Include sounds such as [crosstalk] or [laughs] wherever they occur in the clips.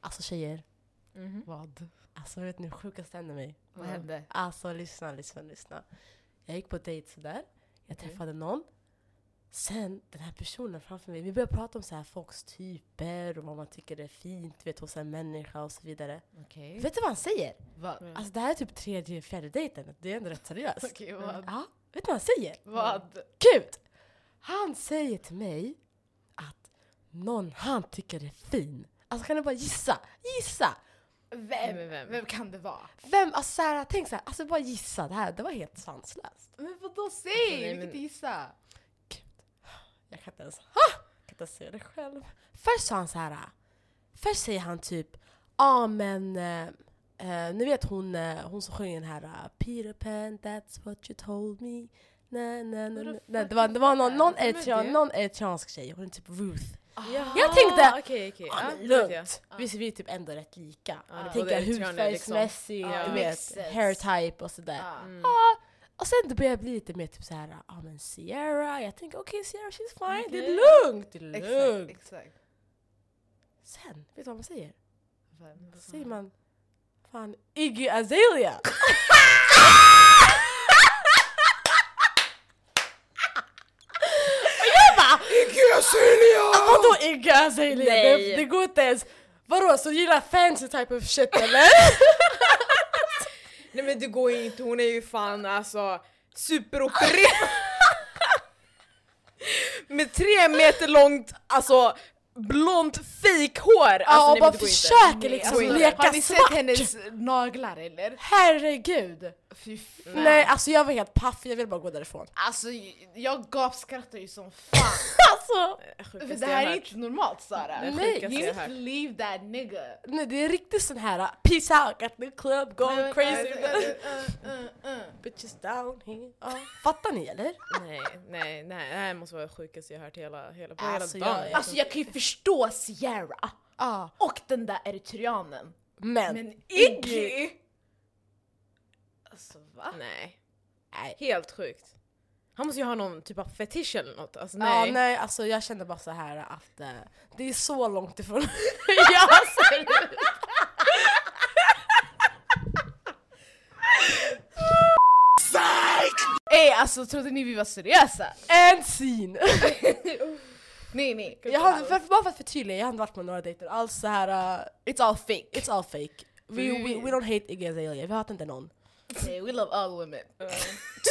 Alltså tjejer, Mhm. Mm-hmm. Vad? alltså vet ni hur sjukast hände mig? Vad hände? Alltså lyssna, lyssna, lyssna. Jag gick på dejt sådär. Jag Okej. träffade någon. Sen den här personen framför mig, vi började prata om så här folks typer och vad man tycker är fint vet, hos en människa och så vidare. Okej. Vet du vad han säger? Vad? Mm. Alltså det här är typ tredje, fjärde dejten. Det är ändå rätt seriöst. [laughs] Okej, Mm. vad? Ja, vet du vad han säger? Vad? Gud! Han säger till mig att någon han tycker är fin. Alltså kan du bara gissa? Gissa! Vem? Vem är vem? Vem kan det vara? Vem, alltså så här, tänk så här, alltså bara gissa det här, det var helt sanslöst. Men vadå, Alltså, säg! nej, Vi kan men- inte gissa. Jag kan inte ens, ha! Jag kan inte ens säga det själv. Först sa han så här. först säger han typ, ja ah, men, eh, eh, ni vet hon, eh, hon som sjöng den här eh, Peter Pan, that's what you told me. Nej, nej, nej, What the nej. fuck nej. Det var, det var någon, någon, Vem är eritrean, det? någon eritreansk tjej, hon är typ Ruth. Jaha, Jag tänkte- Okej, okej. Ah, Ja, men Ja, vet jag. lugnt. Visst är vi typ ändå rätt lika. Ja, Jag det- både tänker eritreaner hudfärgsmässigt, liksom. Ja, du makes vet, sense. hair type och sådär. Ah. Mm. Och sen då börjar jag bli lite mer typ såhär, ja ah, men Sierra, jag tänker okej Sierra she's fine, det Okej. är lugnt, det är Exakt, lugnt. exakt. Sen, vet du vad man säger? Vem? Då säger man, fan Iggy [laughs] Azalea! Och jag bara, "Ah, Vadå Iggy Azalea? Nej. Det, det går inte ens. Vadå, så du gillar fancy type of shit eller? Alltså, Nej men det går ju inte, hon är ju fan alltså superopererad! Med tre meter långt, alltså blont fejkhår! Ja, Alltså, och nej, bara men det går inte. försöker Nej, liksom alltså, leka Har ni svart. sett hennes naglar eller? Herregud! Fy fan. Nej. alltså jag var helt paff, jag ville bara gå därifrån. Alltså jag gapskrattar ju som [laughs] fan. Alltså, För Sjukaste det jag här hört. är inte normalt Sara. Det Nej, You sjukaste jag need har to hört. leave that nigga. nej, det är riktigt sån här uh, peace out at the club going crazy. Bitches down here. Ja. Fattar ni eller? Nej, nej, nej, det här måste vara det sjukaste jag har hört hela, hela, på Alltså, hela dagen. jag- Alltså jag kan ju förstå Sierra Ja. och den där eritreanen. Men, Men Iggy! [laughs] Alltså va? Nej, nej. helt sjukt. Han måste ju ha någon typ av fetisch eller något. Alltså, Nej. nej. Ja, nej, alltså jag kände bara så här att eh, det är så långt ifrån [laughs] hur jag ser ut. Ey alltså trodde ni vi var seriösa? And scene! Nej nej. Jag har, för, bara för att förtydliga, jag har inte varit på några dejter alls så här. eh, it's all fake. It's all fake. We, we, we don't hate Iggy Azalea, vi hatar inte någon. Hey, we love all women. [laughs]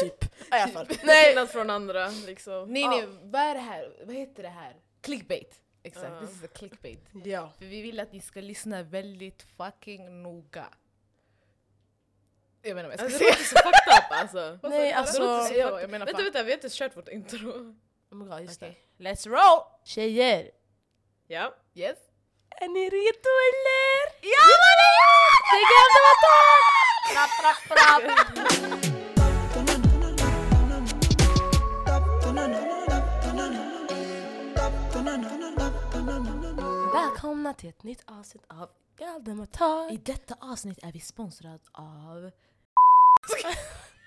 Typ. I alla fall. [laughs] Nej. Skillnad från andra liksom. Nej Ja. nej, vad är det här? Vad heter det här? Clickbait. Exakt, Ja. this is a clickbait. Ja. För vi vill att ni ska lyssna väldigt fucking noga. Jag menar vad jag Alltså, ska säga. det låter så fucked up [laughs] alltså. Nej Det låter så alltså... Jo, jag fucked up. menar Vänta, fan. vänta, vi har inte kört vårt intro. Oh my God, just Okej. det. Let's roll! Tjejer! Ja. Yes? Är ni redo eller? Ja man är jag! Det glömde man ta! Rapp, rapp, rapp. Välkomna till ett nytt avsnitt av Galdematar. I detta avsnitt är vi sponsrad av...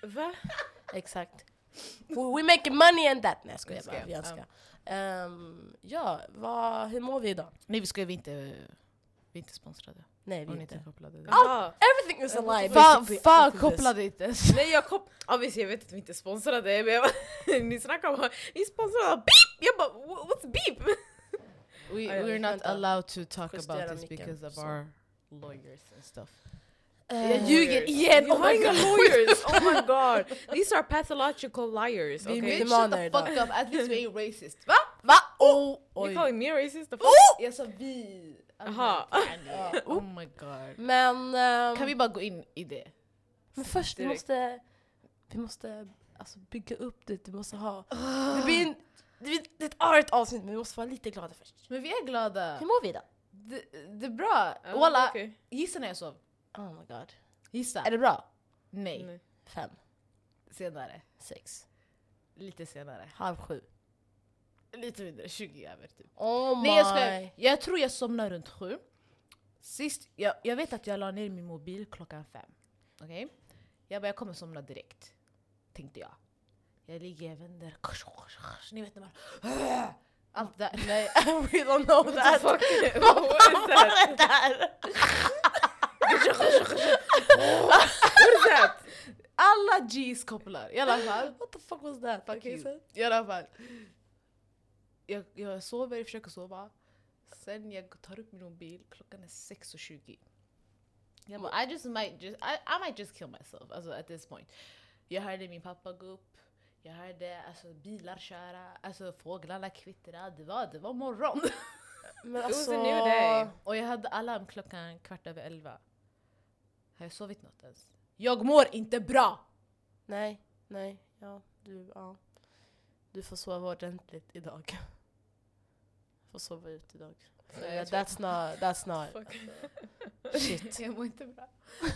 Va? Exakt. We we making money and that. Nej jag skojar Jag bara, skojar. vi önskar. Ehm, ja, vad, hur mår vi idag? Nej vi ska vi är inte... Vi är inte sponsrade. Nej vi Om är ni inte. inte kopplade det. Jaha. Everything is a lie Fan, basically, fan up to this. kopplade inte ens. [laughs] Nej jag kom... Ja visst jag vet att vi inte är sponsrade men jag bara, [laughs] ni snackar om ni är sponsrade av beep! Jag bara "Wha- what's beep? We, Aj, aj, we're not vänta. allowed to talk Justera about this micken, because of så. our lawyers and stuff. Ehm, Jag ljuger igen! Vi Oh har my inga god! [laughs] lawyers! Oh my god! These are pathological liars! Vi är Okay? mycket- shut Mytomaner the idag. fuck up, at least we ain't racist. Va? Va? Oh, You oj. calling me racist? The Oh, fuck? Jag sa vi. Jaha. Amerikaner. Oh Mm. my god. Men, ehm, Kan vi bara gå in i det? men först vi direkt? måste, vi måste alltså, bygga upp det, du måste ha... Det blir, en, det blir det är ett argt avsnitt men vi måste vara lite glada först. Men vi är glada. Hur mår vi idag? Det, det är bra. Ja, Walla, okej. gissa när jag sov. Oh my god. Gissa. Är det bra? Nej. Nej. Fem, Senare. sex, Lite senare. halv sju. Lite mindre. 20 över typ. Oh my. [laughs] Nej jag skojar. Jag tror jag somnade runt sju. Sist, jag, jag vet att jag la ner min mobil klockan fem. Okej? Jag bara, jag kommer somna direkt. Tänkte jag. Jag ligger, jag vänder. Ni vet när man... [gasps] Allt det där. [laughs] We don't know What the that. fuck? Vad What fan is that? [laughs] [laughs] var det där? kopplar. I alla fall. What the fuck was that? Okej, you. sen- I alla fall. Jag, jag sover, jag försöker sova. Sen jag tar upp min mobil, klockan är 6.20. Jag bara, I just might just, I, I might just kill myself alltså, at this point. Jag hörde min pappa gå upp, jag hörde alltså, bilar köra, alltså, fåglarna kvittra. Det var, det var morgon. [laughs] Men was alltså... a new day. Och jag hade alarm klockan kvart över elva. Har jag sovit något ens? Jag mår inte bra! Nej, nej, ja, du, ja. Du får sova ordentligt idag. Får sova ut idag. För Nej, jag tror- that's not, that's not, Fuck. [laughs] shit. Jag mår [laughs] inte bra.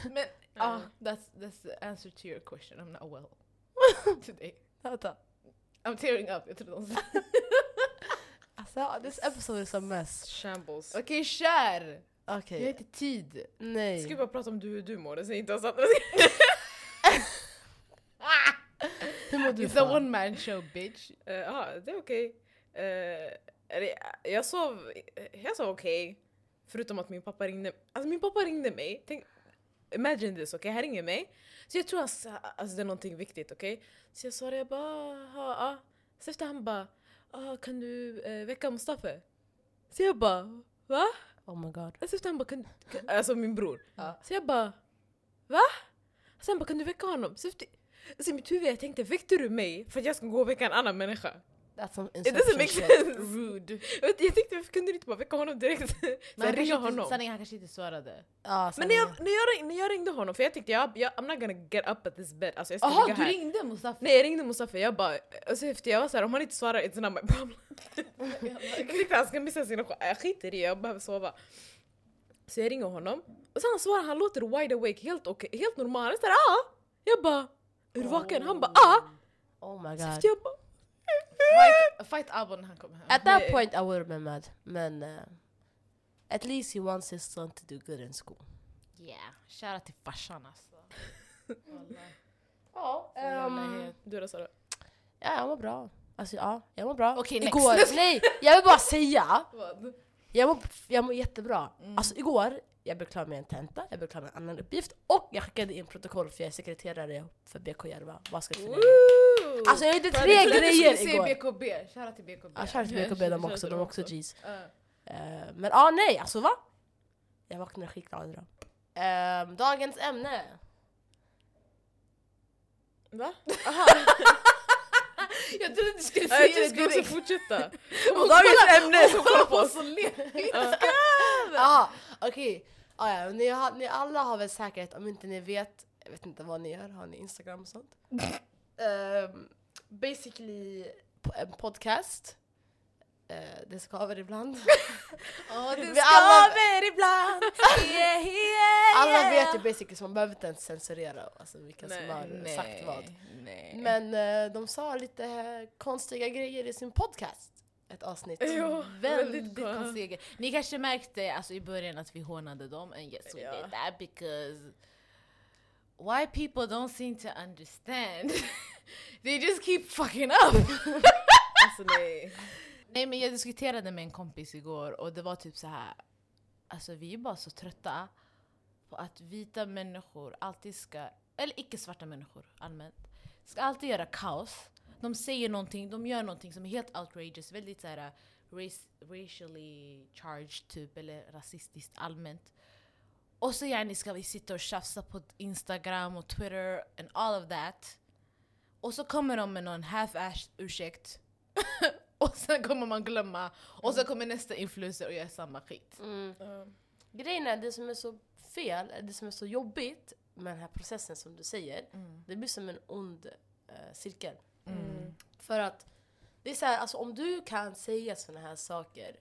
Men ja, that's, that's the answer to your question. I'm not well [laughs] today. Vänta. I'm tearing up. Jag trodde hon sa... [laughs] Alltså, this episode is a mess. Shambles. Okej, kör! Jag har Okej, inte tid. Ska nej. vi bara prata om du, hur du mår? Säg inte oss [laughs] andra. Hur mår du It's a fan? one man show bitch. Eh, Ja, det är okej. Eh, eller, jag sov, jag sov okej. Förutom att min pappa ringde, alltså min pappa ringde mig. Tänk, imagine this, okej? Han ringer mig. Så jag tror att alltså, alltså, det är någonting viktigt, okej? Så jag svarade, jag bara, ja. ja. Så efter han bara, ah, kan du eh, väcka Mustafa? Så jag bara, va? Oh my god. Alltså efter han bara, kan, kan, alltså min bror. Ja. Så jag bara, va? Alltså han bara, kan du väcka honom? Så efter, alltså i mitt huvud jag tänkte, väckte du mig för att jag ska gå och väcka en annan människa? That's some It doesn't inception make shit. sense. Rude. Jag tänkte varför kunde du inte bara väcka honom direkt? Så Men han jag ringa kanske honom. inte, sanningen, han kanske inte svarade. Ja, Men när jag, när, jag, ring- när jag ringde honom, för jag tänkte jag, jag, I'm not gonna get up at this bed. Alltså jag ska Jaha, ligga du här. ringde Mustafa? Nej jag ringde Mustafa, jag bara, alltså efter jag var såhär om han inte svarar it's not my problem. [laughs] jag tänkte han ska missa sina sk- jag skiter i det, jag behöver sova. Så jag ringer honom, och sen han svarar, han låter wide awake, helt okej, helt normal. Jag såhär ah! Jag bara, är du vaken? Han bara ah! oh my Så god. efter jag bara, Fight, fight Abba när han kom hem. At that Nej. point I would have been mad. Men eh, at least he wants his son to do good in school. Yeah, kära till farsan alltså. Wallahi. Ja, Så jävla het. "Mm, du då Sara? ja, jag mår bra. Alltså ja, jag mår bra. Okej, next. Igår, nej, jag vill bara säga. Vad? Jag mår, jag mår jättebra. Alltså igår, jag blev klar med en tenta, jag blev klar med en annan uppgift och jag skickade in protokoll för jag är sekreterare för BK Järva basketförening. Woo! Alltså jag gjorde tre Jag trodde du skulle grejer säga igår. BKB, kära till BKB. Ja, Shoutout till BKB, de Shoutout också, till de dem också också. G's. Ja. Eh, men ah, nej, alltså va? Jag vaknade skitglad idag. Ehm, dagens ämne. [laughs] Va? Jag trodde du skulle Ja, säga Jag det trodde du skulle direkt. fortsätta. Hon Dagens kollar- ämne som hon kollar på oss. oss och ler. [laughs] Ah, Okej, ah, ja, ni, har- ni alla har väl säkerhet, om inte ni vet, jag vet inte vad ni gör, har ni Instagram och [laughs] sånt? Ehm, basically po- en podcast. Eh, det skaver ibland. Ja, [laughs] det Vi ska alla- vi ibland. Yeah, [laughs] Alla vet ju basically, så man behöver inte ens censurera alltså, vilka som har sagt vad. Nej. Men eh, de sa lite eh, konstiga grejer i sin podcast. Ett avsnitt. Jo, Väldigt väldigt konstiga grejer. Ni kanske märkte alltså, i början att vi hånade dem, and yes we Ja. did that because why people don't seem to understand. [laughs] They just keep [laughs] fucking up. Alltså nej. Nej men jag diskuterade med en kompis igår och det var typ så här. Alltså vi är bara så trötta på att vita människor alltid ska, eller icke-svarta människor allmänt, ska alltid göra kaos. De säger någonting, de gör någonting som är helt outrageous, väldigt så här race, racially charged typ, eller rasistiskt allmänt. Och så gärna ska vi sitta och tjafsa på Instagram och Twitter and all of that. Och så kommer de med någon half-ass ursäkt. [laughs] och sen kommer man glömma. Och så kommer nästa influencer och gör samma skit. Mm. Grejen är, det som är så fel, det som är så jobbigt med den här processen som du säger, det blir som en ond eh, cirkel. För att, det är så här, alltså, om du kan säga såna här saker,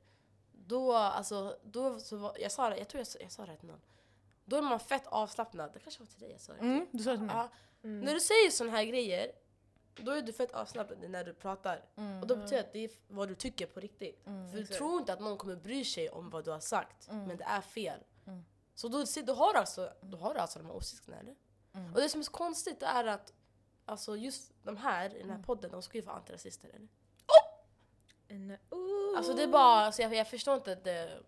då, alltså, då så var, jag sa det, jag tror jag, sa- jag sa det till någon, då är man fett avslappnad. Det kanske var till dig jag sa det. Mm, du sa det till mig. Ja. När du säger såna här grejer, då är du fett avslappnad när du pratar. Och då betyder det att det är vad du tycker på riktigt. För du tror inte att någon kommer bry sig om vad du har sagt, men det är fel. Så då, se- då, har du alltså, då har du alltså de här åsikterna eller? Och det som är så konstigt det är att alltså just de här i den här podden, de ska ju vara antirasister eller? En- oh. uh. Alltså det är bara, alltså jag, jag förstår inte att det...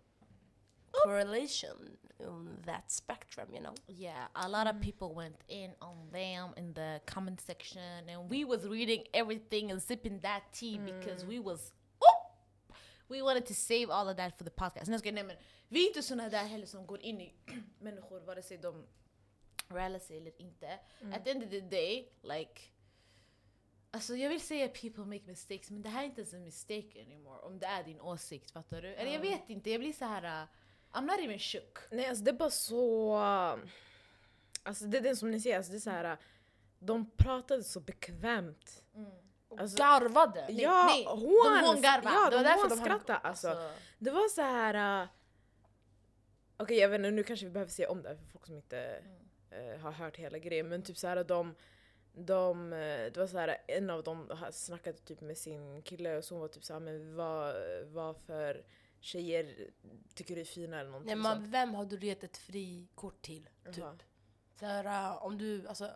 correlation on that spectrum, you know? Yeah, a lot of people went in on them in the comment section, and we was reading everything and sipping that tea because we was oh, we wanted to save all of that for the podcast. Nej, jag skojar, nej men vi är inte såna där heller som går in i [clears throat] människor vare sig de rallar sig eller inte. At the end of the day, like Alltså jag vill säga people make mistakes, men det här är inte ens en mistake anymore. Om det är din åsikt, fattar du? Eller jag vet inte, jag blir så här. uh, I'm not even shook. Nej alltså det är bara så... um, Alltså det är den som ni säger, alltså det är så här. De pratade så bekvämt. Alltså, Garvade! Nej, ja, nej, hon, de hångarvade. Ja, Det de var därför de hann- hånskrattade alltså. Alltså, Det var så här. äh, Okej jag vet inte, nu kanske vi behöver se om det här för folk som inte äh, har hört hela grejen. Men typ så här de, de, äh, det var så här en av dem ha- snackade typ med sin kille och så hon var typ såhär men vad, vad för tjejer tycker du är fina eller någonting Nej, sånt. men vem har du gett ett frikort till? Typ. Jaha. Så här, uh, om du, alltså,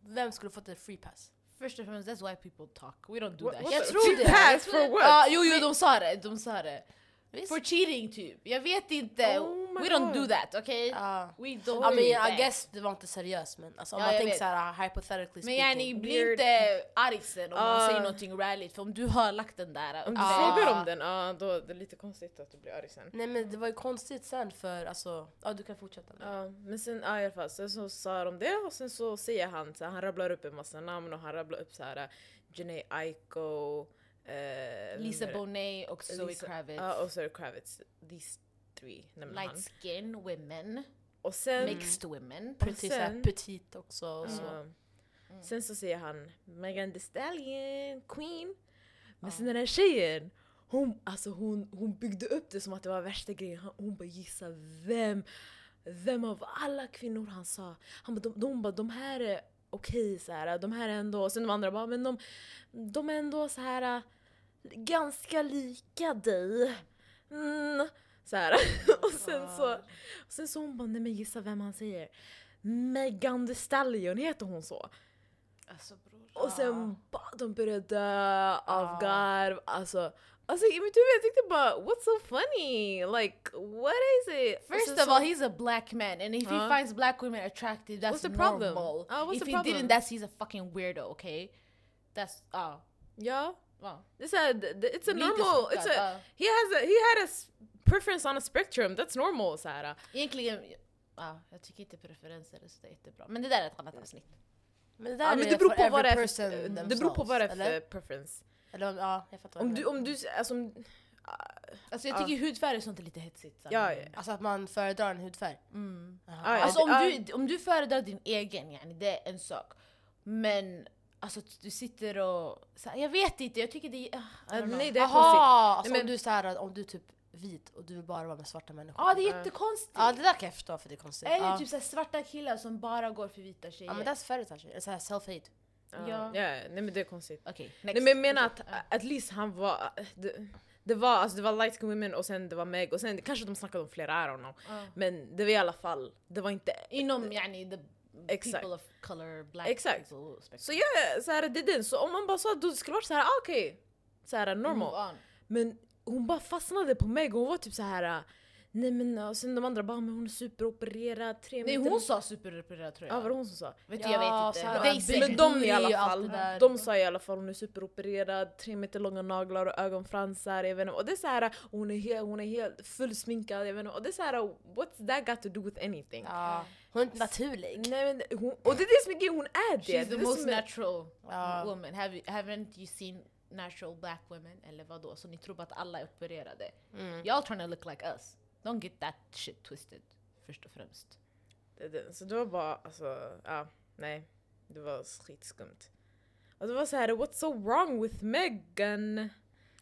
vem skulle fått ett free pass? First and foremost, that's why people talk. We don't do What- that. what shit. jag tror the- Typ [laughs] det! Pass Jag for tror- what? Ja, jo, jo, de sa det. De sa det. Visst? For cheating typ. Jag vet inte. Oh my We don't God. do that, okej? Okay? Ja. We don't I do mean, I that. guess det var inte seriöst men alltså, om Ja, man jag tänker vet. såhär uh, hypothetically Men speaking. yani, bli Weird. inte argsen om man Ah. säger någonting rallyt. För om du har lagt den där... Om du ah. frågar om den, ja då är det lite konstigt att du blir arg sen. Nej men det var ju konstigt sen för alltså, ja du kan fortsätta. nu. Ja, men sen ja, i alla fall, sen så sa de det och sen så säger han så här, han rabblar upp en massa namn och han rabblar upp så här Jhené Aiko, eh, Lisa vem är det? Bonet och Zoe Lisa- Kravitz. Ja, och Zoe Kravitz. These three nämner han. Light skin women. Och sen, Mixed women. Pretty, såhär sen- Mm. petit också och så. ja. sen så säger han Megan Thee Stallion, Queen. Men sen den här tjejen, hon, alltså hon, hon byggde upp det som att det var värsta grejen. Hon, hon bara gissa vem, vem av alla kvinnor han sa. Han bara, de, de, bara, de här är okej så här, de här är ändå, och sen de andra bara, men de, de är ändå så här äh, ganska lika dig. Mm. Så här. [laughs] och sen så, och sen så hon bara, nej men gissa vem han säger. Megan Thee Stallion heter hon så. Alltså bror. Och sen bara, de började dö Ja. av garv. Alltså, alltså i mitt huvud jag tänkte bara what's so funny? Like what is it? Och First sen of Alltså, så- all, he's a black man, and if Huh? he finds black women attractive, that's What's the problem? normal. Ah, what's if the he problem? didn't, that's he's a fucking weirdo. Okay, that's oh, ja. well, Det är såhär, det- det- it's a Lite normal, chockad, it's a, ja. he has a, he had a s- preference on a spectrum, that's normal såhär. egentligen, ja, jag tycker inte preferenser är så det är jättebra. Men det där är ett annat avsnitt. Men det där Ja, men är det beror for på vad det every är person för, eh, det themselves, beror på vad det är för eller? preference. Eller om, ja, jag fattar vad Om du du, menar. om du, alltså om, Alltså jag tycker hudfärg och sånt är lite hetsigt. så här. ja, ja. Alltså att man föredrar en hudfärg. Mm. Jaha. Ah, ja. Alltså om det- du, om du föredrar din egen, yani, det är en sak. Men alltså du sitter och, så här, jag vet inte, jag tycker det är... ah, I don't know. nej det är konstigt. Aha, alltså Nej, om men- du är såhär, om du är typ vit och du vill bara vara med svarta människor. Ja, Ah, det är Ja. jättekonstigt. Ja, det där kan jag förstå för det är konstigt. Eller ja. typ så här svarta killar som bara går för vita tjejer. ja men det är färre eller såhär self-hate. Ja, Ja. ja, nej men det är konstigt. Okej, Nej next. men jag menar att eh, at least han var... eh, Det, det var, alltså, det var light skin women och sen det var Meg och sen kanske de snackade om flera, I don't know. Ja. Men det var i alla fall, det var inte... eh, Inom yani the Exakt. people of color, black Exakt. people. Exakt. Så jag, så här, det är den, så om man bara sa att det skulle vara så här, ah, okej, så här normal. Mm, Men hon bara fastnade på Meg och hon var typ så här. nej men eh, och sen de andra bara, men hon är superopererad, tre Nej meter- hon sa superopererad tror Ja jag. var det hon som sa? Vet Ja, du, jag vet så inte. här, They big say- Säkert. Men de i Booty alla och allt fall, det där. de sa i alla fall hon är superopererad, tre meter långa naglar och ögonfransar, jag vet inte, och det är såhär, hon är helt, hon är helt fullsminkad, jag vet inte, och det är såhär, what's that got to do with anything? Ja. Hon är inte naturlig. Nej men hon, och det är det som är grejen, hon är det! She's det the är det most som är- natural Ja. woman. Have you, haven't you seen natural black women? Eller vadå? Så ni tror bara att alla är opererade? Mm. Y'all trying to look like us. Don't get that shit twisted. Först och främst. det är det. Så det var bara, alltså, ja, nej. Det var skitskumt. Och det var såhär, what's so wrong with Megan?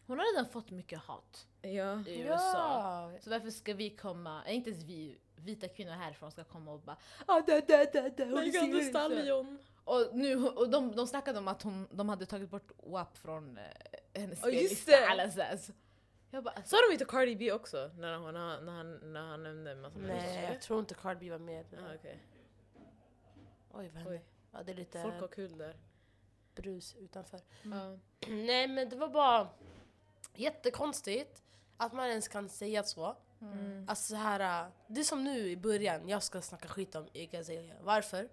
Hon har redan fått mycket hat Ja. i USA. Så varför ska vi komma, äh, inte ens vi vita kvinnor härifrån ska komma och bara ah, da, da, da, da, hon Megan Thee ser ut så här." Stallion. Och, nu, och de, de snackade om att hon, de hade tagit bort WAP från eh, hennes Ja, just spellista, det. alla så här. Så Jag bara alltså, Sa de inte Cardi B också? När han, när han, när han nämnde en massa Nej, jag tror inte Cardi B var med. Ah, okej. Oj vad hände? Oj. Ja, det är lite Folk har kul där. brus [clears throat] utanför. Ja. Nej men det var bara jättekonstigt att man ens kan säga så. Mm. Alltså så här, äh, det är som nu i början, jag ska snacka skit om Igazalea. Varför?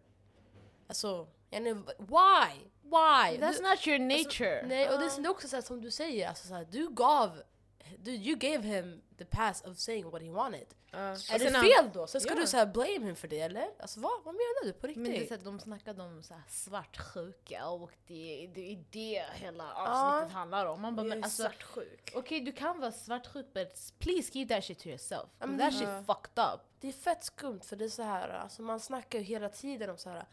Alltså, yani, why? Why? That's Du- not your nature. Nej, och det är som- det är också så här, som du säger, alltså, så här, du gav, du, you gave him the pass of saying what he wanted. Ja. är Och det sen han- fel då? Sen ska Ja. du så här blame him för det eller? Alltså vad, vad menar du på riktigt? men det är så att de snackade om så här svartsjuka och det, det är det hela Ja. avsnittet handlar om. Man bara, Jag men är alltså, svartsjuk. Okej, du kan vara svartsjuk but please keep that shit to yourself. Ja, men that det- shit Ja. fucked up. Det är fett skumt för det är så här, alltså man snackar ju hela tiden om så här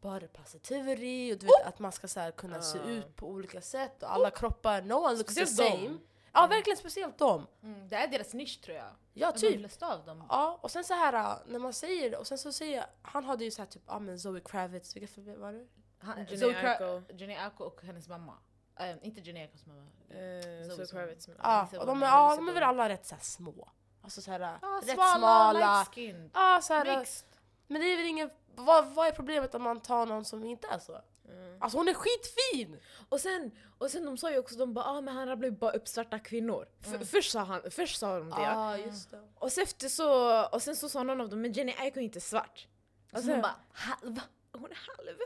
body positivity och du vet att man ska så här kunna se Ah. ut på olika sätt och alla kroppar, no one looks Speciellt the dem. same. Ja verkligen speciellt dem. Mm, det är deras nisch tror jag. Ja Att De typ. flesta av dem. Ja och sen så här när man säger det och sen så säger han hade ju så här typ, ja ah, men Zoe Kravitz, vilka för- var det? Han, Jenny Zoe Kra- Aiko. Jenny Aiko och hennes mamma. Eh, inte Jenny Aikos mamma. Eh, Zoe Zoe som- Kravitz. men- Ja Lisa och de är, Bonet. ja, Lisa de är väl Bonet. alla rätt så här små. Alltså så här, Ah, rätt smala. light skin. Ja så här, Mixed. men det är väl ingen, vad, vad är problemet om man tar någon som inte är så? Mm. Alltså hon är skitfin! Och sen, och sen de sa ju också, de bara ah, men han rabblade ju bara upp svarta kvinnor. F- först, sa han, först sa de det. Ja ah, just det. Och, sen efter så, och sen så sa någon av dem, men Jenny Aiko är inte svart. Och Alltså, sen bara halva. hon är halv.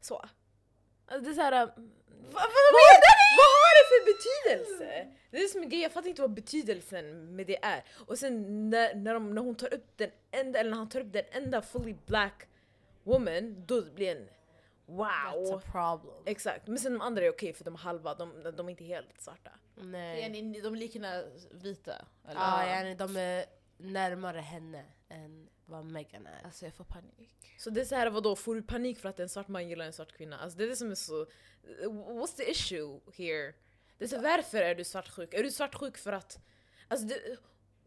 Så. Alltså, det är såhär, vad, vad, vad har det för betydelse? Det är som en grej, jag fattar inte vad betydelsen med det är. Och sen när, när, de, när hon tar upp den enda, eller när han tar upp den enda fully black woman, då blir det en That's a wow. problem. Exakt, men sen de andra är okej för de är halva, de, de är inte helt svarta. Ja, Nej. ni- De liknar vita. Eller? Mm. Ja, yani de är närmare henne än vad Megan är. Alltså jag får panik. Så det är så här, vadå, får du panik för att en svart man gillar en svart kvinna? Alltså det är det som är så... What's the issue here? Det är så, varför är du svartsjuk? Är du svartsjuk för att... Alltså det,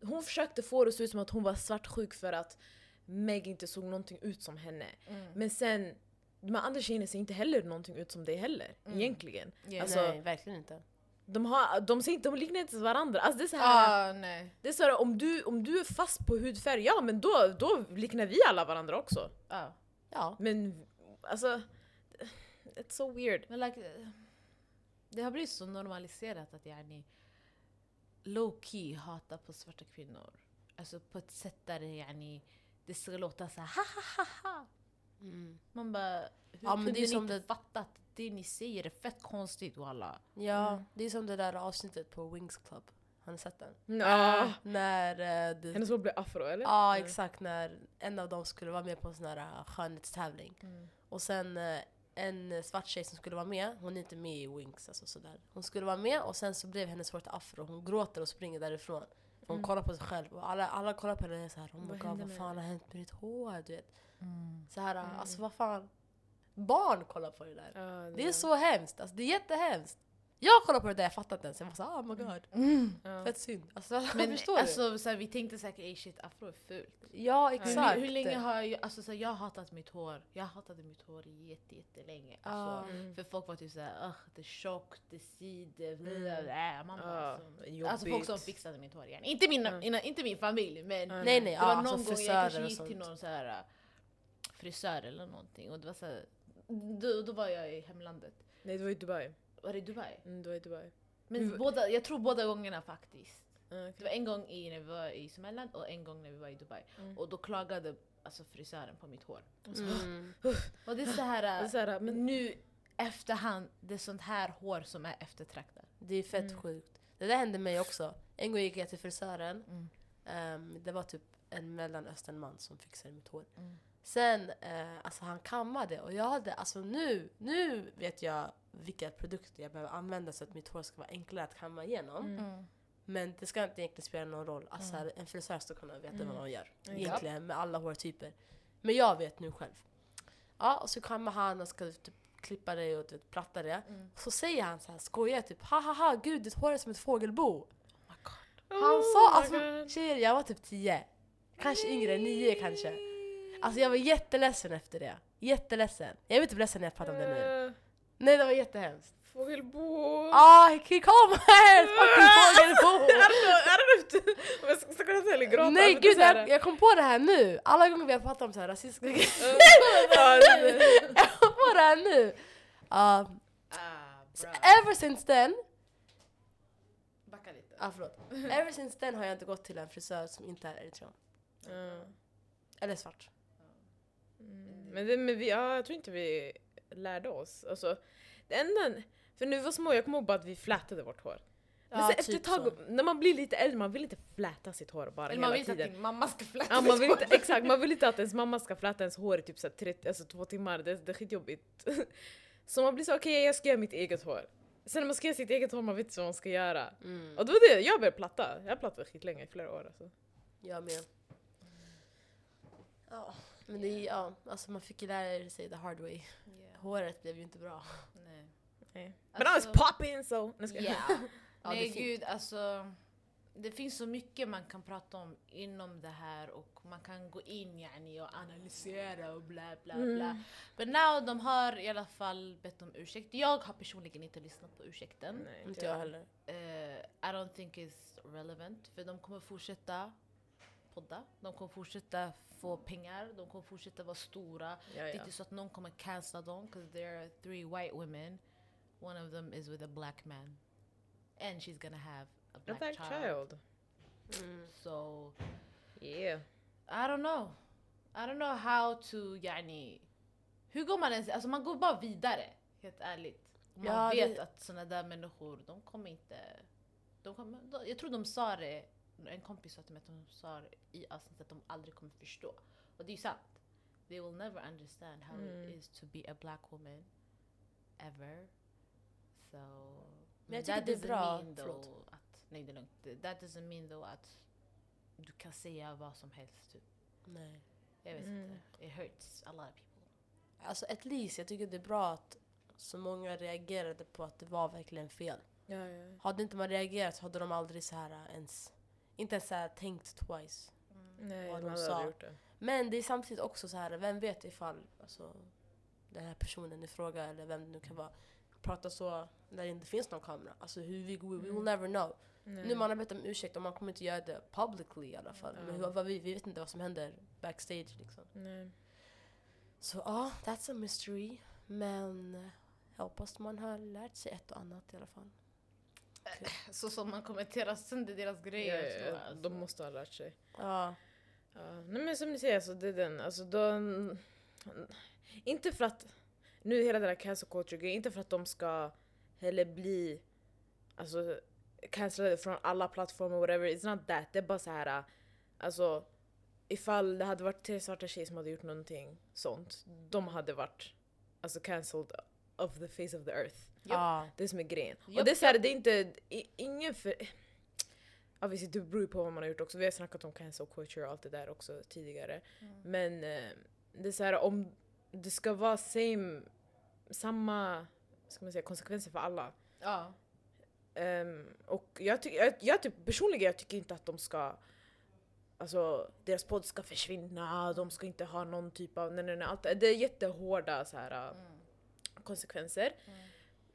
hon försökte få det att se ut som att hon var svartsjuk för att Meg inte såg någonting ut som henne. Mm. Men sen, de här andra tjejerna ser inte heller någonting ut som dig heller, egentligen. Ja, Alltså, Nej, verkligen inte. de, har, de, ser inte, de liknar inte varandra. Alltså det är så här, Ah, nej. det är så här om, du, om du är fast på hudfärg, ja men då, då liknar vi alla varandra också. Ah. Ja. Men alltså, it's so weird. Men like, eh, det har blivit så normaliserat att yani low key hatar på svarta kvinnor. Alltså på ett sätt där det yani, det ska låta så här ha ha ha ha. Mm. Man bara, hur Ja, men kunde det är ni som inte det- fatta att det ni säger är fett konstigt walla? Ja, det är som det där avsnittet på Wings Club. Har ni sett den? Ah. När eh, det... Hennes hår blev afro eller? typ. Ja, Mm. exakt. När en av dem skulle vara med på en sån här eh, skönhetstävling. Mm. Och sen eh, en svart tjej som skulle vara med, hon är inte med i Wings. Alltså, sådär. Hon skulle vara med och sen så blev hennes hår till afro. Hon gråter och springer därifrån. För Mm. Hon kollar på sig själv och alla, alla kollar på henne så här. Oh my Vad God, hände vad med fan har hänt med ditt hår? Du vet. Så här, Mm. alltså vad fan. Barn kollar på det där. Ja, Det är så hemskt, alltså, det är jättehemskt. Jag kollar på det där, jag fattar inte ens. Jag var såhär, oh my god. ja. Fett synd. Alltså, Mm. [laughs] Men förstår du? alltså, så här, vi tänkte säkert ey shit afro är fult. Ja, Hur, exakt. länge- hur länge har jag, alltså så här, jag har hatat mitt hår, jag hatade mitt hår jätte, jättelänge. Alltså, Mm. För folk var typ såhär, "Ugh, det är tjockt, det är sidor, eh, bla, bla, bla." Mm. Man bara, Ja, alltså, alltså folk som Ah, jobbigt. fixade mitt hår igen. Inte min, Mm. ina, inte min familj men Mm. Nej nej, det ja, var någon alltså gång jag kanske frisörer och gick till sånt. någon så här äh, frisör eller någonting och det var så här, då, då var jag i hemlandet. Nej det var i Dubai. Var det Dubai? Mm, det var i Dubai. Men Mm. båda, jag tror båda gångerna faktiskt. Ja, Det okej. var en gång i, när vi var i Somaliland och en gång när vi var i Dubai. Mm. Och då klagade alltså, frisören på mitt hår. Mm. Och det är så [laughs] här, Det är äh, så här, men nu efterhand, det är sånt här hår som är eftertraktat. Det är fett Mm. sjukt. Det där hände mig också. En gång gick jag till frisören. Mm. Ehm, det var typ en mellanösternman som fixade mitt hår. Mm. Sen, eh, alltså han kammade och jag hade, alltså nu, nu vet jag vilka produkter jag behöver använda så att mitt hår ska vara enklare att kamma igenom. Men det ska inte egentligen spela någon roll. Alltså, En frisör ska kunna veta vad de gör. Mm. Egentligen med alla hårtyper. Men jag vet nu själv. Ja, och så kommer han och ska typ klippa dig och typ platta det. Mm. Och så säger han så här, skojar typ ha ha ha gud ditt hår är som ett fågelbo. Han sa Oh my alltså, God. tjejer jag var typ 10. Kanske yngre, 9 kanske. Alltså jag var jätteledsen efter det. Jätteledsen. Jag är inte ledsen när jag pratar om det nu. Eh, Nej det var jättehemskt. Fågelbo. Ah, he come [laughs] here! Fucking fågelbo! [laughs] Är det inte? Om jag ska- ska kunna säga eller gråta. Nej men det är gud, så här- jag, jag kom på det här nu. Alla gånger vi har pratat om så här rasistiska grejer, [laughs] [laughs] Ja, det- jag kom på det här nu. Um, Ah, bra. ever since then, Backa lite. ah, förlåt. [laughs] Ever since then har jag inte gått till en frisör som inte är eritrean. Ja. Eller svart. Mm. Men, det, men vi, ja, jag tror inte vi lärde oss. Alltså, det enda, för när vi var små, jag kommer ihåg bara att vi flätade vårt hår. Men Ja, sen efter typ ett tag, så. när man blir lite äldre, man vill inte fläta sitt hår bara Eller hela man vill inte att tiden. din mamma ska fläta Ja, man vill ditt [laughs] inte, hår. exakt, man vill inte att ens mamma ska fläta ens hår i typ så här 30, alltså två timmar, det, det är skitjobbigt. [laughs] Så man blir så okej jag ska göra mitt eget hår. Sen när man ska göra sitt eget hår, man vet inte vad man ska göra. Mm. Och det var det, jag började platta. Jag plattade skitlänge, i flera år alltså. Jag med. Ja, men det är ja, alltså man fick ju lära sig the hard way. Yeah. Håret blev ju inte bra. Nej. Nej. But I Alltså- was popping so! Nej, ska- Ja. Ja, det Nej är fint. gud, alltså. Det finns så mycket man kan prata om inom det här och man kan gå in yani, och analysera och bla bla Mm. bla. Men now de har i alla fall bett om ursäkt. Jag har personligen inte lyssnat på ursäkten. Mm. Nej, Inte jag heller. Eh, I don't think it's relevant. För de kommer fortsätta podda, de kommer fortsätta få pengar, de kommer fortsätta vara stora. Ja, Det är ja. inte så att någon kommer cancella dem, because there are three white women. One of them is with a black man. And she's gonna have a A black, black child. child. Mm. So, Yeah. I don't know. I don't know how to, yani... Hur går man ens... Alltså man går bara vidare, helt ärligt. Man Ja, det- vet att såna där människor, de kommer inte... De kommer, de, jag tror de sa det, en kompis sa till mig att de sa det i avsnittet att de aldrig kommer förstå. Och det är ju sant. They will never understand how Mm. it is to be a black woman. Ever. So... Men jag tycker det är doesn't bra. mean though Förlåt. Att, nej det är lugnt. That doesn't mean though att du kan säga vad som helst typ. Nej. Jag vet Mm. inte. It hurts a lot of people. Alltså at least, jag tycker det är bra att så många reagerade på att det var verkligen fel. Ja, ja. Hade inte man reagerat hade de aldrig så här äh, ens, inte ens så här tänkt twice. Mm. Nej, Vad man de hade sa. aldrig gjort det. Men det är samtidigt också så här, vem vet ifall alltså, den här personen i fråga eller vem det nu kan vara pratar så när det inte finns någon kamera. Alltså hur vi går, we will never know. Nej. Nu man har bett om ursäkt och man kommer inte göra det publicly i alla fall. Men Ja. hur, vad vi, vi vet inte vad som händer backstage liksom. Nej. Så ja, that's a mystery. Men eh, jag hoppas man har lärt sig ett och annat i alla fall. Så som man kommenterar sönder deras Ja, grejer. ja, tror ja. jag, alltså. De måste ha lärt sig. Ja, Ja, nej men som ni säger, alltså, det är den. Alltså, de, inte för att... Nu hela den här cancel culture inte för att de ska heller bli alltså, cancellade från alla plattformar whatever. It's not that. Det är bara så här, alltså ifall det hade varit tre svarta tjejer som hade gjort någonting sånt, de hade varit alltså cancelled of the face of the earth. ja, Det som är grejen. Japp, och det är såhär, det är inte, i- ingen för... Ja visst, det beror ju på vad man har gjort också. Vi har snackat om cancel culture och allt det där också tidigare. Mm. Men eh, det är såhär, om det ska vara same, samma ska man säga, konsekvenser för alla. Ja. Ehm, och jag, ty- jag, jag typ, personligen jag tycker inte att de ska... Alltså deras podd ska försvinna, de ska inte ha någon typ av... Nej, nej, nej, allt, det det är jättehårda så här, eh, Mm. konsekvenser.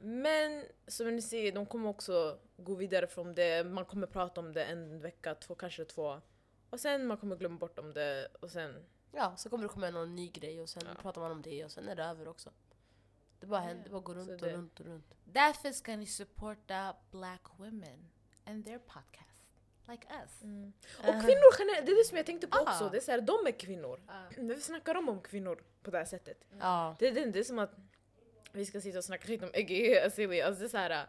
Men som ni ser, de kommer också gå vidare från det. Man kommer prata om det en vecka, två, kanske två. Och sen man kommer glömma bort om det och sen... ja, så kommer det komma någon ny grej och sen Ja. pratar man om det och sen är det över också. Det bara händer, det bara går runt och det- runt och runt. Därför ska ni supporta black women and their podcast. Like [laughs] us. Och kvinnor generellt, det är det som jag tänkte på Ah. också. Det är så här, de är kvinnor. Ah. Varför snackar de om kvinnor på det här sättet? Ja, Det, det, det är som att vi ska sitta och snacka skit om Iggy Azalea. Alltså det är såhär...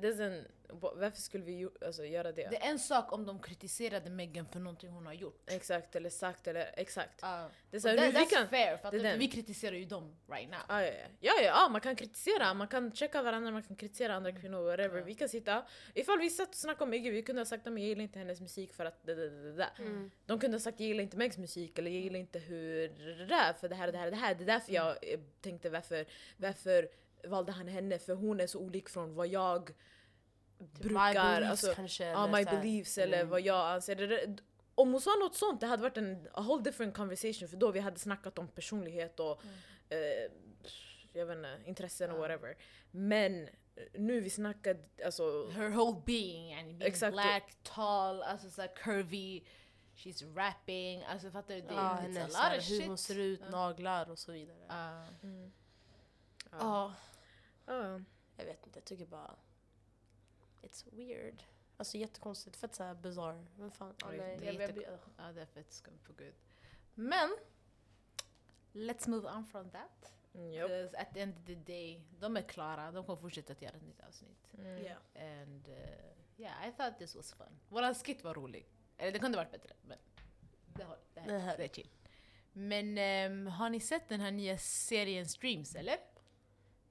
Det är sen, va- varför skulle vi ju, alltså, göra det? Det är en sak om de kritiserade Megan för någonting hon har gjort. Exakt, eller sagt, eller exakt. Ja. Det är Och såhär, that- hur vi that's kan... fair, för att det är den. vi kritiserar ju dem right now. Ah, Ja, ja, ja. ja, ja, ja, man kan kritisera, man kan checka varandra, man kan kritisera andra Mm. kvinnor, whatever. Ja. Vi kan sitta, ifall vi satt och snackade om Iggy, vi kunde ha sagt att jag gillar inte hennes musik för att det, det, det, det. där." Mm. Typ De kunde ha sagt jag gillar inte Megs musik eller jag gillar inte hur det där, för det här, det här, det här. Det är därför Mm. jag eh, tänkte varför, varför valde han henne? För hon är så olik från vad jag brukar, my beliefs alltså, kanske. ja, eller my så här. Mm. beliefs eller vad jag anser. Det- det- Om hon sa något sånt, det hade varit en a whole different conversation för då vi hade snackat om personlighet och Mm. eh, jag vet inte, intressen och Ja. whatever. Men eh, nu vi snackar, alltså Her whole being, yani being Exakt. black, tall, alltså såhär curvy. She's rapping, alltså fattar du? Det Ja, är hennes, it's a lot of hur shit. hon ser ut, naglar och så vidare. Ja, Ja. Ja. ja. jag vet inte, jag tycker bara... It's weird. Alltså jättekonstigt, fett såhär bizarre. Men fan, ja, Jag vet nej, inte, jag, jag, jättek- blir- ugh. Ja, det är fett skumt på gud. Men, let's move on from that. Mm, japp. 'Cause at the end of the day, de är klara, de kommer fortsätta att göra ett nytt avsnitt. Mm. Yeah. And eh, yeah, I thought this was fun. Våran skit var rolig. Eller det kunde varit bättre, men det, har, det, Det här, här- det är chill. Men ehm, har ni sett den här nya serien Streams eller?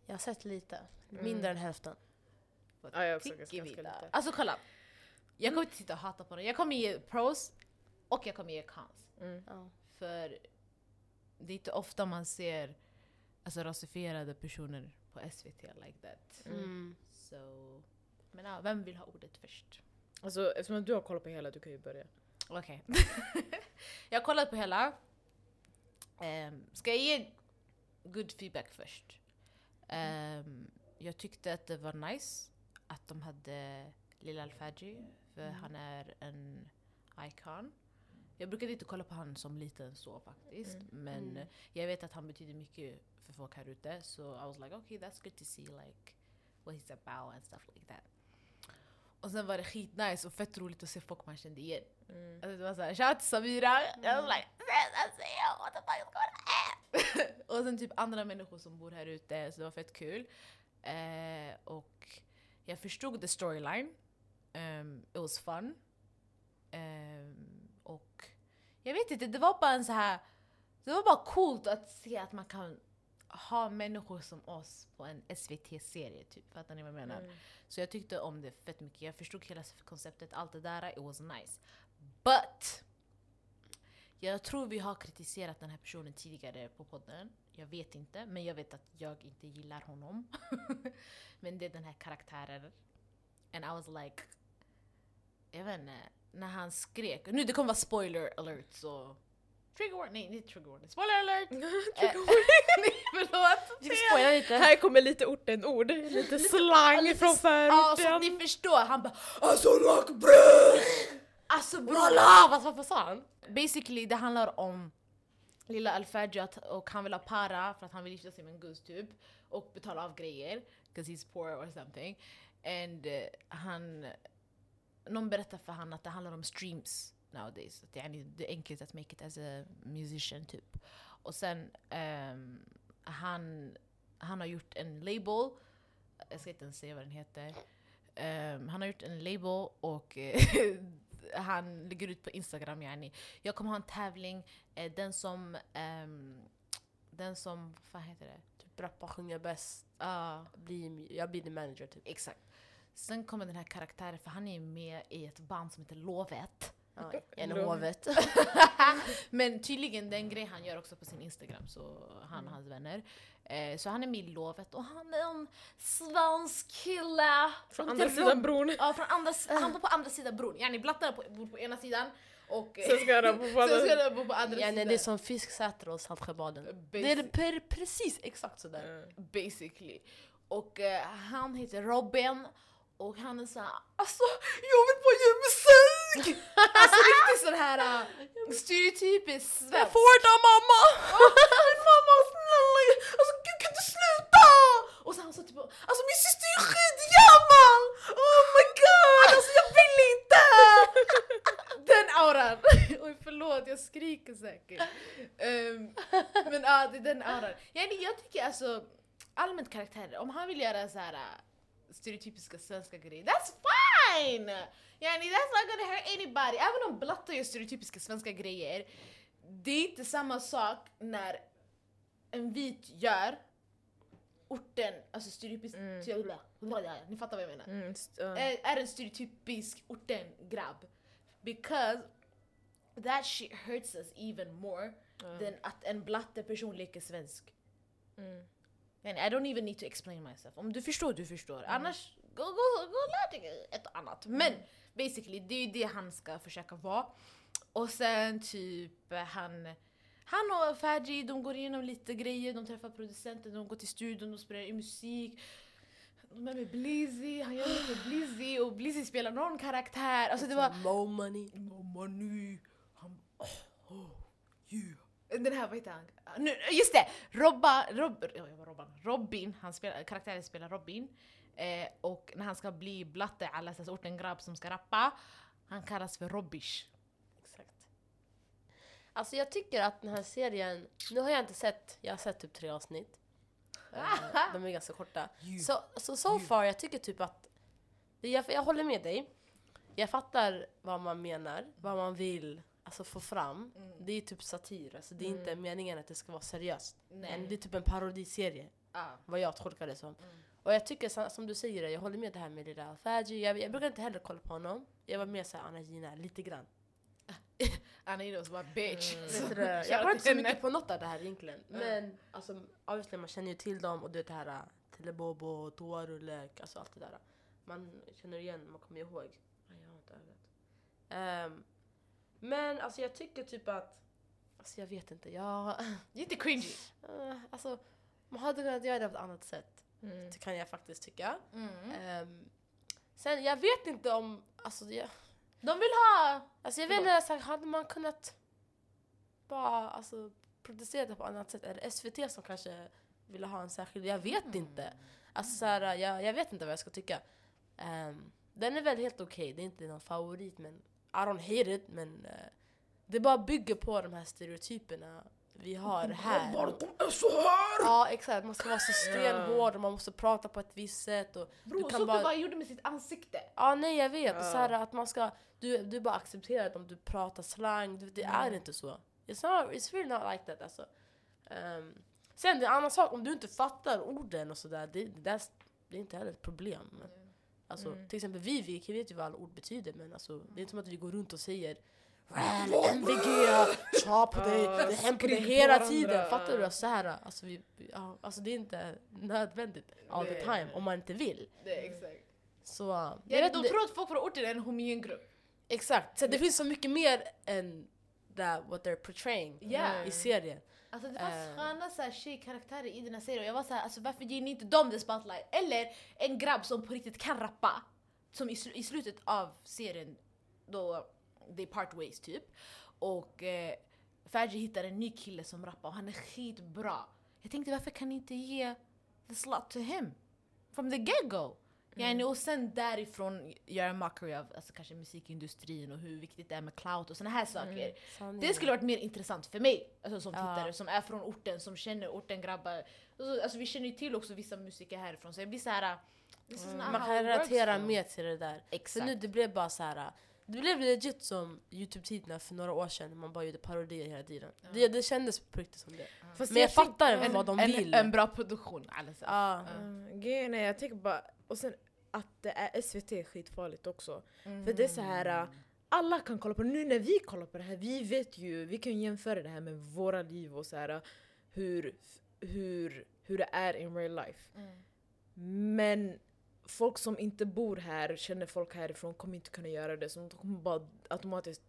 jag har sett lite. Mm. Mindre än hälften. Vad Ja, jag har också tycker sett ganska vi lite. där? Alltså kolla. Jag kommer inte sitta och hata på den. Jag kommer ge pros och jag kommer ge cons. Mm. Ja. För det är inte ofta man ser alltså, rasifierade personer på SVT like that. Mm. Mm. So, men ja, vem vill ha ordet först? Alltså eftersom du har kollat på hela, du kan ju börja. Okej. [laughs] jag har kollat på hela. Um, ska jag ge good feedback först? Ehm, jag tyckte att det var nice att de hade Lil Alfadji, för Mm. han är en icon. Jag brukade inte kolla på han som liten så faktiskt, men Mm. jag vet att han betyder mycket för folk här ute, så I was like okay that's good to see like what he's about and stuff like that. Och sen var det skitnice och fett roligt att se folk man kände igen. Mm. Alltså det var såhär, shout till Samira. Jag var like, snälla säg what the fuck is going on? [laughs] Och sen typ andra människor som bor här ute, så det var fett kul. Eh, och jag förstod the storyline. Um, it was fun. Ehm, och jag vet inte, det var bara en så här det var bara coolt att se att man kan ha människor som oss på en SVT-serie typ. Fattar ni vad jag menar? [laughs] Så jag tyckte om det fett mycket. Jag förstod hela konceptet, allt det där. It was nice. But! Jag tror vi har kritiserat den här personen tidigare på podden. Jag vet inte, men jag vet att jag inte gillar honom. [laughs] men det är den här karaktären. And I was like... Jag vet inte. När han skrek. Nu det kommer vara spoiler alert så... Trigger warning. Nej, inte trigger warning. Spoiler [laughs] alert! Eh, nej, Förlåt! Vi fick spoila lite. Här kommer lite orten-ord, lite slang från Ja, så att förorten. ni förstår. Han bara Alltså rockbröd! Alltså bror! Walla! Vad vad sa han? Basically det handlar om lilla Alfajat och han vill ha para för att han vill gifta sig med en guzz typ och betala av grejer, 'cause he's poor or something. And eh, han... Någon berättar för han att det handlar om streams nowadays. Att det, är, det är enkelt att make it as a musician typ. Och sen ehm, han, han har gjort en label, jag ska inte ens säga vad den heter. Ehm, han har gjort en label och eh, [laughs] han lägger ut på Instagram yani. Jag kommer ha en tävling, eh, den som, ehm, den som, vad fan heter det? Typ rappa, sjunga bäst, Ja, bli, jag blir din manager typ. exakt. Sen kommer den här karaktären, för han är med i ett band som heter Lovet. [laughs] Ja, en Lugn. hovet. Men tydligen den grej han gör också på sin Instagram, så han och Mm. hans vänner. Eh, så han är med i Lovet och han är en svensk kille. Från som andra heter sidan bron. [laughs] Ja, från andra, si- Ah. han bor på andra sidan bron. Yani blattarna på, bor på ena sidan och Sen ska jag [laughs] på sen ska alla... de bo på andra Ja, nej, sidan. det Eh, är som Fisksäter och Saltsjöbaden. Det är per, precis exakt sådär. Mm. basically. Och eh, han heter Robin och han är såhär alltså jag vill bara göra [laughs] musik! alltså riktigt sån här uh, stereotypisk svensk. får det mamma! mamma snälla, alltså gud kan du sluta? Och så han sa typ alltså min syster är skitgammal! Oh my god, alltså jag vill [laughs] inte! Den auran! Oj förlåt, jag skriker säkert. Ehm, men ja, det är den auran. Jag, jag tycker alltså allmänt karaktärer, om han vill göra så här äh, stereotypiska svenska grejer, that's fine! Yani, that's not gonna hurt anybody. Även om blattar gör stereotypiska svenska grejer, det är inte samma sak när en vit gör orten, alltså stereotypiskt... Mm. Ni fattar vad jag menar. Mm, st- ja. Är, är en stereotypisk orten-grabb. Because that shit hurts us even more Ja. than att en blatte person leker svensk. Mm. And I don't even need to explain myself. Om du förstår, du förstår. Annars, gå, gå, gå och lär dig ett och annat. Mm. Men basically, det är ju det han ska försöka vara. Och sen typ eh, han... Han och Fadji, de går igenom lite grejer, de träffar producenten, de går till studion, de spelar in musik. De är med Blizzy, han gör något med Blizzy och Blizzy spelar någon karaktär. Alltså det var... Mo money. Mamma nu, han... Oh, oh, yeah. Den här, vad heter han? Nu, just det! Robba, Rob, ja, jag var Robban. Robin, han spelar, karaktären spelar Robin. Eh, och när han ska bli blatte, alla så orten grabb som ska rappa, han kallas för Robbish. Exakt. Alltså jag tycker att den här serien, nu har jag inte sett, jag har sett typ tre avsnitt. Eh, De är ganska korta. Så so, so far, jag tycker typ att, det- jag, jag håller med dig. Jag fattar vad man menar, vad man vill alltså, få fram. Det är ju typ satir, alltså, det är inte meningen att det ska vara seriöst. Men det är typ en parodiserie, Ah. vad jag tolkar det som. Och jag tycker sa- som du säger, jag håller med det här med lilla Alfaji. Jag, jag brukar inte heller kolla på honom. Jag var mer såhär Anna Gina, lite grann. Han är inne bara bitch. Vet du det? [laughs] Jag kollar inte så mycket på något av det här egentligen. Men alltså, obviously, man känner ju till dem och du vet det här äh, Telebobo, toarulle, alltså allt det där. Man känner igen, man kommer ihåg. Nej, jag har inte ögat. Ehm, men alltså jag tycker typ att, alltså jag vet inte, jag, [laughs] Lite cringy. eh, alltså man hade kunnat göra det på ett annat sätt. Mm. Det kan jag faktiskt tycka. Mm. Eh. Ehm, sen jag vet inte om, alltså jag, De vill ha... Alltså jag vet inte, så här, hade man kunnat bara alltså, producera det på annat sätt? Eller SVT som kanske ville ha en särskild, jag vet Mm. inte. Alltså så här, jag, jag vet inte vad jag ska tycka. Ehm, den är väl helt okej, det är inte någon favorit men I don't hate it men eh, det bara bygger på de här stereotyperna vi har här. de är så här! Ja exakt, man ska vara så stenhård och man måste prata på ett visst sätt. Och Bror, såg bara- du vad han gjorde med sitt ansikte? Ja nej jag vet, Ja. och så här, att man ska, du, du bara accepterar att om du pratar slang, du, det Mm. är inte så. It's, not, it's really not like that alltså. Ehm, sen det är en annan sak, om du inte fattar orden och sådär, det, det, där- det är inte heller ett problem. Mm. Alltså, Till exempel vi, vi vi vet ju vad alla ord betyder men alltså, det är inte som att vi går runt och säger Ran, MVG, tja på dig, Mm. Ja, det händer på dig skrik på hela varandra. tiden. Fattar du? Så här, alltså, vi, vi- ja, alltså det är inte nödvändigt all the Nej. time om man inte vill. Det är exakt. Så, jag Ja, de vet inte- tror att folk från orten är en homogen grupp. Exakt, så det finns så mycket mer än that what they're portraying Ja. i serien. Alltså det fanns Eh. sköna så här, tjejkaraktärer i den här serien och jag var såhär, alltså, varför ger ni inte dem the spotlight? Eller en grabb som på riktigt kan rappa. Som i, slu- i slutet av serien, då they part ways typ. Och eh, Fergie hittar en ny kille som rappar och han är skitbra. Jag tänkte varför kan ni inte ge the slot to him? From the get-go! Yani, och sen därifrån göra en mockery av alltså, kanske musikindustrin och hur viktigt det är med clout och såna här saker. Det skulle varit mer intressant för mig alltså som Ja. tittare som är från orten, som känner orten grabbar. Alltså, alltså, vi känner ju till också vissa musiker härifrån så äh, jag blir såhär... this is not Mm. Man how it kan works relatera now. mer till det där. Så Exakt. nu det blev bara så här. Det blev legit som Youtube-tiderna för några år sedan, man bara gjorde parodier hela tiden. Det, det kändes på riktigt som det. Fast Men jag tänk- fattar Ja. vad de en, vill. En bra produktion alltså. Ja. Mm, grejen är, jag tänker bara, och sen att det är SVT är skitfarligt också. För det är så här, äh, alla kan kolla på det. Nu när vi kollar på det här, vi vet ju, vi kan ju jämföra det här med våra liv och så här, äh, hur, hur, hur det är in real life. Mm. Men folk som inte bor här, känner folk härifrån, kommer inte kunna göra det. Så de kommer bara automatiskt,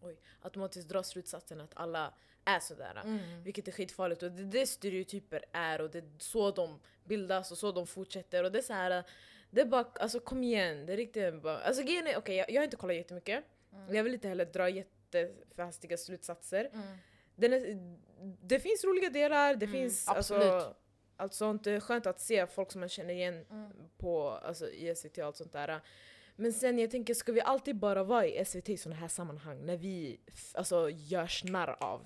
oj, automatiskt dra slutsatsen att alla är äh. sådär. Mm. Vilket är skitfarligt och det är det stereotyper är och det är så de bildas och så de fortsätter och det är så här. Det är bara, alltså kom igen, det är riktigt bara, alltså grejen är, okej jag, jag har inte kollat jättemycket Mm. Jag vill inte heller dra jätteförhastiga slutsatser Mm. Den är, Det finns roliga delar, det finns alltså absolut. allt sånt, det är skönt att se folk som man känner igen Mm. på alltså, i SVT och allt sånt där Men sen jag tänker, ska vi alltid bara vara i SVT i såna här sammanhang när vi f- alltså, görs narr av?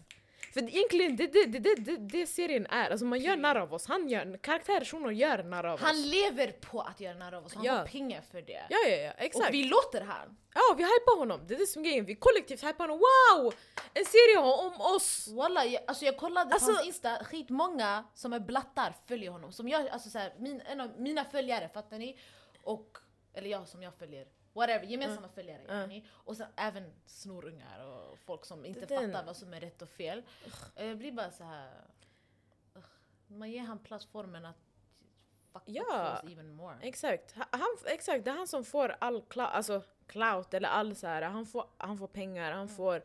För det- egentligen, det det, det, det, det, det serien är. Alltså man gör narr av oss. Han gör, karaktärspersoner gör narr av Han oss. lever på att göra narr av oss, han Ja. får pengar för det. Ja, ja, ja. Exakt. och vi låter han. Ja, vi hypar honom. Det är det som är grejen. Vi kollektivt hypar honom. Wow! En serie om oss! Walla, jag, alltså jag kollade Alltså- på hans insta, skitmånga som är blattar följer honom. Som jag, alltså så här, min, en av mina följare, fattar ni? Och, eller jag som jag följer. Whatever, gemensamma följare. Mm. Ni? Och sen även snorungar och folk som inte Den- fattar vad som är rätt och fel. Jag blir bara så här. ugh. Man ger han plattformen att fuck up Ja. for us even more. Exakt. Ha- Han, exakt, det är han som får all clou, alltså, clout eller all så här. Han får, han får pengar, Mm. han får,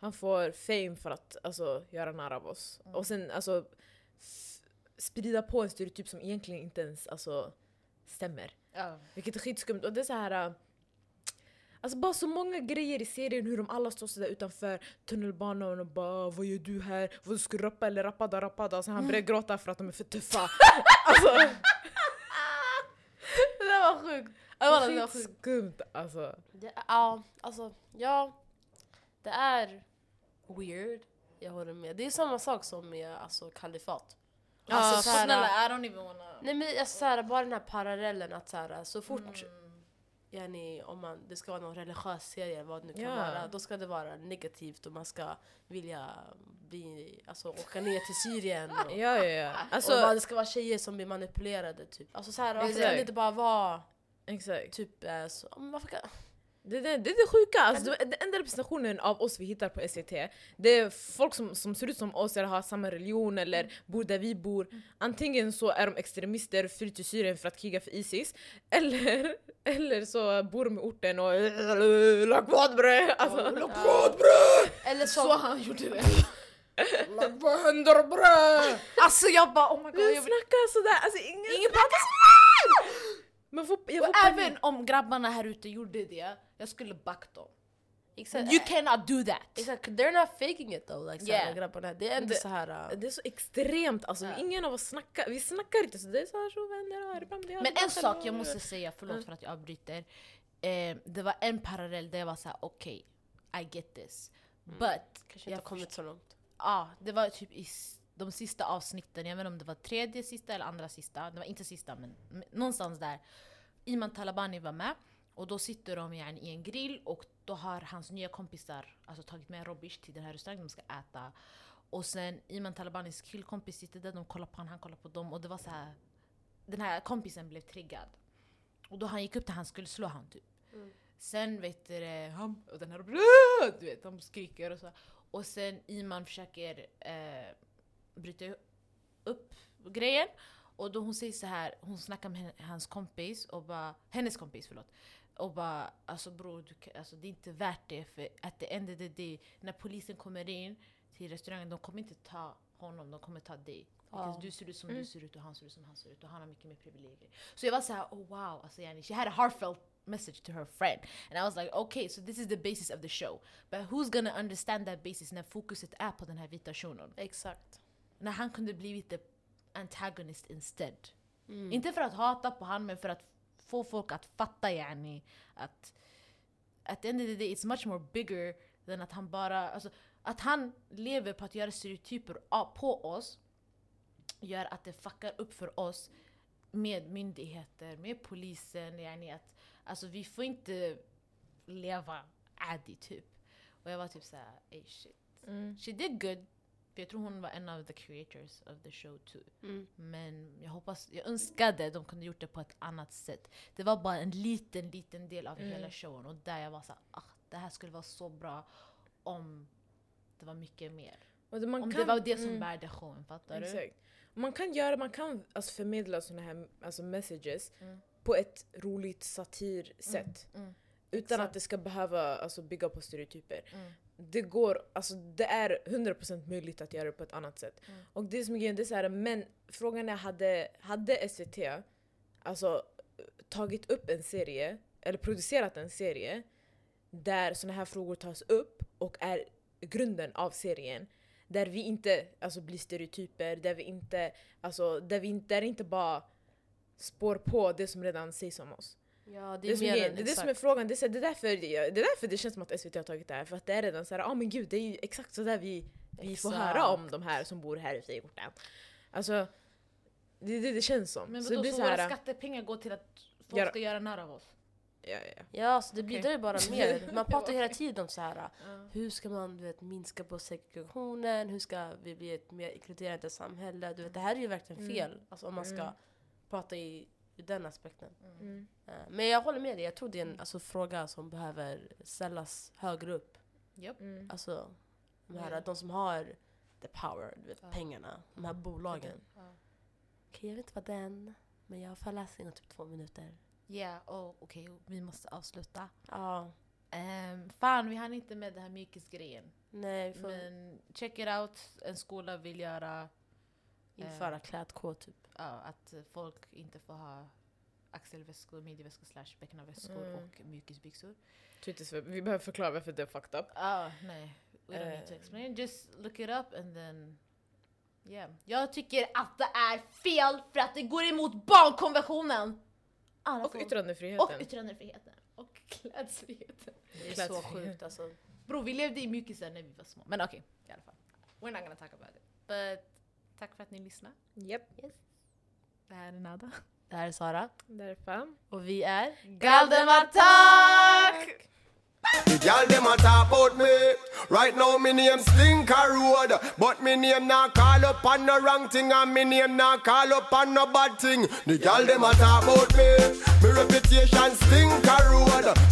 han får fame för att alltså, göra narr av oss. Mm. Och sen alltså s- sprida på en stereotyp som egentligen inte ens alltså, stämmer. Ja. Vilket är skitskumt. Och det är så här... äh, Alltså bara så många grejer i serien hur de alla står sådär utanför tunnelbanan och bara Vad gör du här? Vad ska du rappa eller rappada Mm. rappada? Sen han börjar gråta för att de är för tuffa. alltså... Det där var sjukt! [laughs] Ja, wallah, det var sjukt. Skitskumt alltså. Det är, ja, alltså, ja. Det är weird. Jag håller med. Det är samma sak som med alltså, kalifat. Ja, Alltså, så så här- snälla, I don't even wanna... Nej men alltså, så här, bara den här parallellen att så, här, så fort yani, om man, det ska vara någon religiös serie, vad det nu kan Ja. vara, då ska det vara negativt och man ska vilja bli, alltså, åka ner till Syrien. Och, Ja, ja, [laughs] ja. och vad, Alltså, det ska vara tjejer som blir manipulerade typ. Alltså så här, varför kan Exakt. det inte bara vara exakt. typ eh, så, men varför kan, Det, det, det är det sjuka. Alltså, det, den enda representationen av oss vi hittar på SVT, det är folk som, som ser ut som oss eller har samma religion eller bor där vi bor. Antingen så är de extremister, flyr till Syrien för att kriga för Isis. [laughs] Eller, eller så bor de i orten och... Lakvad bre! Alltså, Lakvad [laughs] bre! eller så, Så han gjorde det. Vad händer bre? Alltså jag bara oh my god. Vem Jag vill... snackar sådär? Alltså ingen, Ingen snackar pratar Man får, jag Och får även om grabbarna här ute gjorde det, jag skulle backa dem. exakt, eh, You cannot do that! exakt, they're not faking it though. Like, så Yeah. här, grabbarna, det är ändå Det- så här. eh, Det är så extremt, alltså Ja. ingen av oss snackar, vi snackar inte så det är så här så vänner har det bra med det, har det Men bra en sak själv." jag Eh. måste säga, förlåt för att jag avbryter. Eh, det var en parallell där jag var såhär okej, I get this. But, Mm. kanske inte jag har kommit så långt. Ja, det var typ i s- de sista avsnitten, jag vet inte om det var tredje sista eller andra sista, det var inte sista men m- någonstans där. Iman Talabani var med och då sitter de yani i en grill och då har hans nya kompisar alltså, tagit med Robish till den här restaurangen de ska äta. Och sen Iman Talabanis killkompis sitter där, de kollar på honom, han kollar på dem och det var så här. Den här kompisen blev triggad. Och då han gick upp till han skulle slå han typ. Sen vet du det, han, och den här "Bruh!" du vet, de skriker och så. Och sen Iman försöker eh, bryta upp grejen. Och då hon säger så här, hon snackar med hen- hans kompis och bara, hennes kompis förlåt. Och bara alltså bror, du, kan- alltså, det är inte värt det för att det enda det är när polisen kommer in till restaurangen, de kommer inte ta honom, de kommer ta dig. Because Ja. Du ser ut som du ser ut och han ser ut som han ser ut och han har mycket mer privilegier. Så jag var såhär, oh wow, alltså yani, she had a heartfelt message to her friend. And I was like, okay, so this is the basis of the show. But who's gonna understand that basis när fokuset är på den här vita shunon? Exakt. När han kunde blivit the antagonist instead. Inte för att hata på han men för att få folk att fatta yani att at the end of the day it's much more bigger than att han bara, alltså att han lever på att göra stereotyper a- på oss gör att det fuckar upp för oss med myndigheter, med polisen, yani att alltså vi får inte leva adi typ. Och jag var typ såhär, ey shit. Mm. She did good. För jag tror hon var en av the creators of the show too. Mm. Men jag hoppas, jag önskade de kunde gjort det på ett annat sätt. Det var bara en liten, liten del av hela showen och där jag var såhär, ah, det här skulle vara så bra om det var mycket mer. Och det- man Om kan, Mm. det var det som bärde showen, fattar du? Exakt. Man kan göra, man kan alltså förmedla såna här alltså messages Mm. på ett roligt satirsätt. Utan att det ska behöva alltså, bygga på stereotyper. mm. Det går, alltså det är 100% möjligt att göra det på ett annat sätt. Och det som är grejen, det är så här, men frågan är hade, hade SVT alltså tagit upp en serie, eller producerat en serie där såna här frågor tas upp och är grunden av serien. Där vi inte alltså, blir stereotyper, där vi inte, alltså, där vi inte, där det inte bara spår på det som redan sägs om oss. Ja, det Det, är som, är, mer Alltså, det, än är det som är exakt. frågan, det är, så här, det, är därför, jag- det är därför det känns som att SVT har tagit det här. För att det är redan så här, ja men gud det är ju exakt så där vi, vi får Exakt. höra om de här som bor här i Frigorten. Alltså, det är det det känns Men som. det vadå, så, blir så så här, ah, våra skattepengar går till att folk Göra- ska göra nära av oss? ja, ja. Ja, så det bidrar Okej. ju bara [laughs] mer. Man pratar ju hela tiden om så här. hur ska man du vet, minska på segregationen, hur ska vi bli ett mer inkluderande samhälle? Du vet, det här är ju verkligen Mm. fel alltså, om man ska prata i, i den aspekten. Mm. Eh, Men jag håller med dig, jag tror det är en alltså, fråga som behöver ställas högre upp. Japp. Alltså, de, här, Ja. de som har the power, du vet, Mm. Ja. Mm. pengarna, de här bolagen. Ja. Okej, jag vet inte vad den, men jag har föreläsning om typ två minuter. Yeah, oh, okej, vi måste avsluta. Ja, Ehm, fan, vi hann inte med den här mykisgrejen. nej, vi får Men check it out, en skola vill göra eh, införa klädkod typ. ja, att folk inte får ha axelväskor, midjeväskor slash bäckenväskor Mm. och mjukisbyxor. Typiskt, vi behöver förklara varför det är fucked up. Ja, nej. We don't need to Eh. explain. Just look it up and then... Yeah. Jag tycker att det är fel för att det går emot barnkonventionen! Alla Och får- yttrandefriheten. och yttrandefriheten. Och klädfriheten. Det är så Klädfrihet. sjukt alltså. Bro, vi levde i mjukisen när vi var små. Men okej, i alla fall. We're not gonna talk about it. But tack för att ni lyssnade. Japp, Det här är Nada. Det här är Sara därför. och vi är Galdematak! The girl them a talk about me. Right now me name Slinker Road, but me name not call up on the wrong thing, and me name not call up on no bad thing. The girl them a talk about me. Me reputation Slinker Road.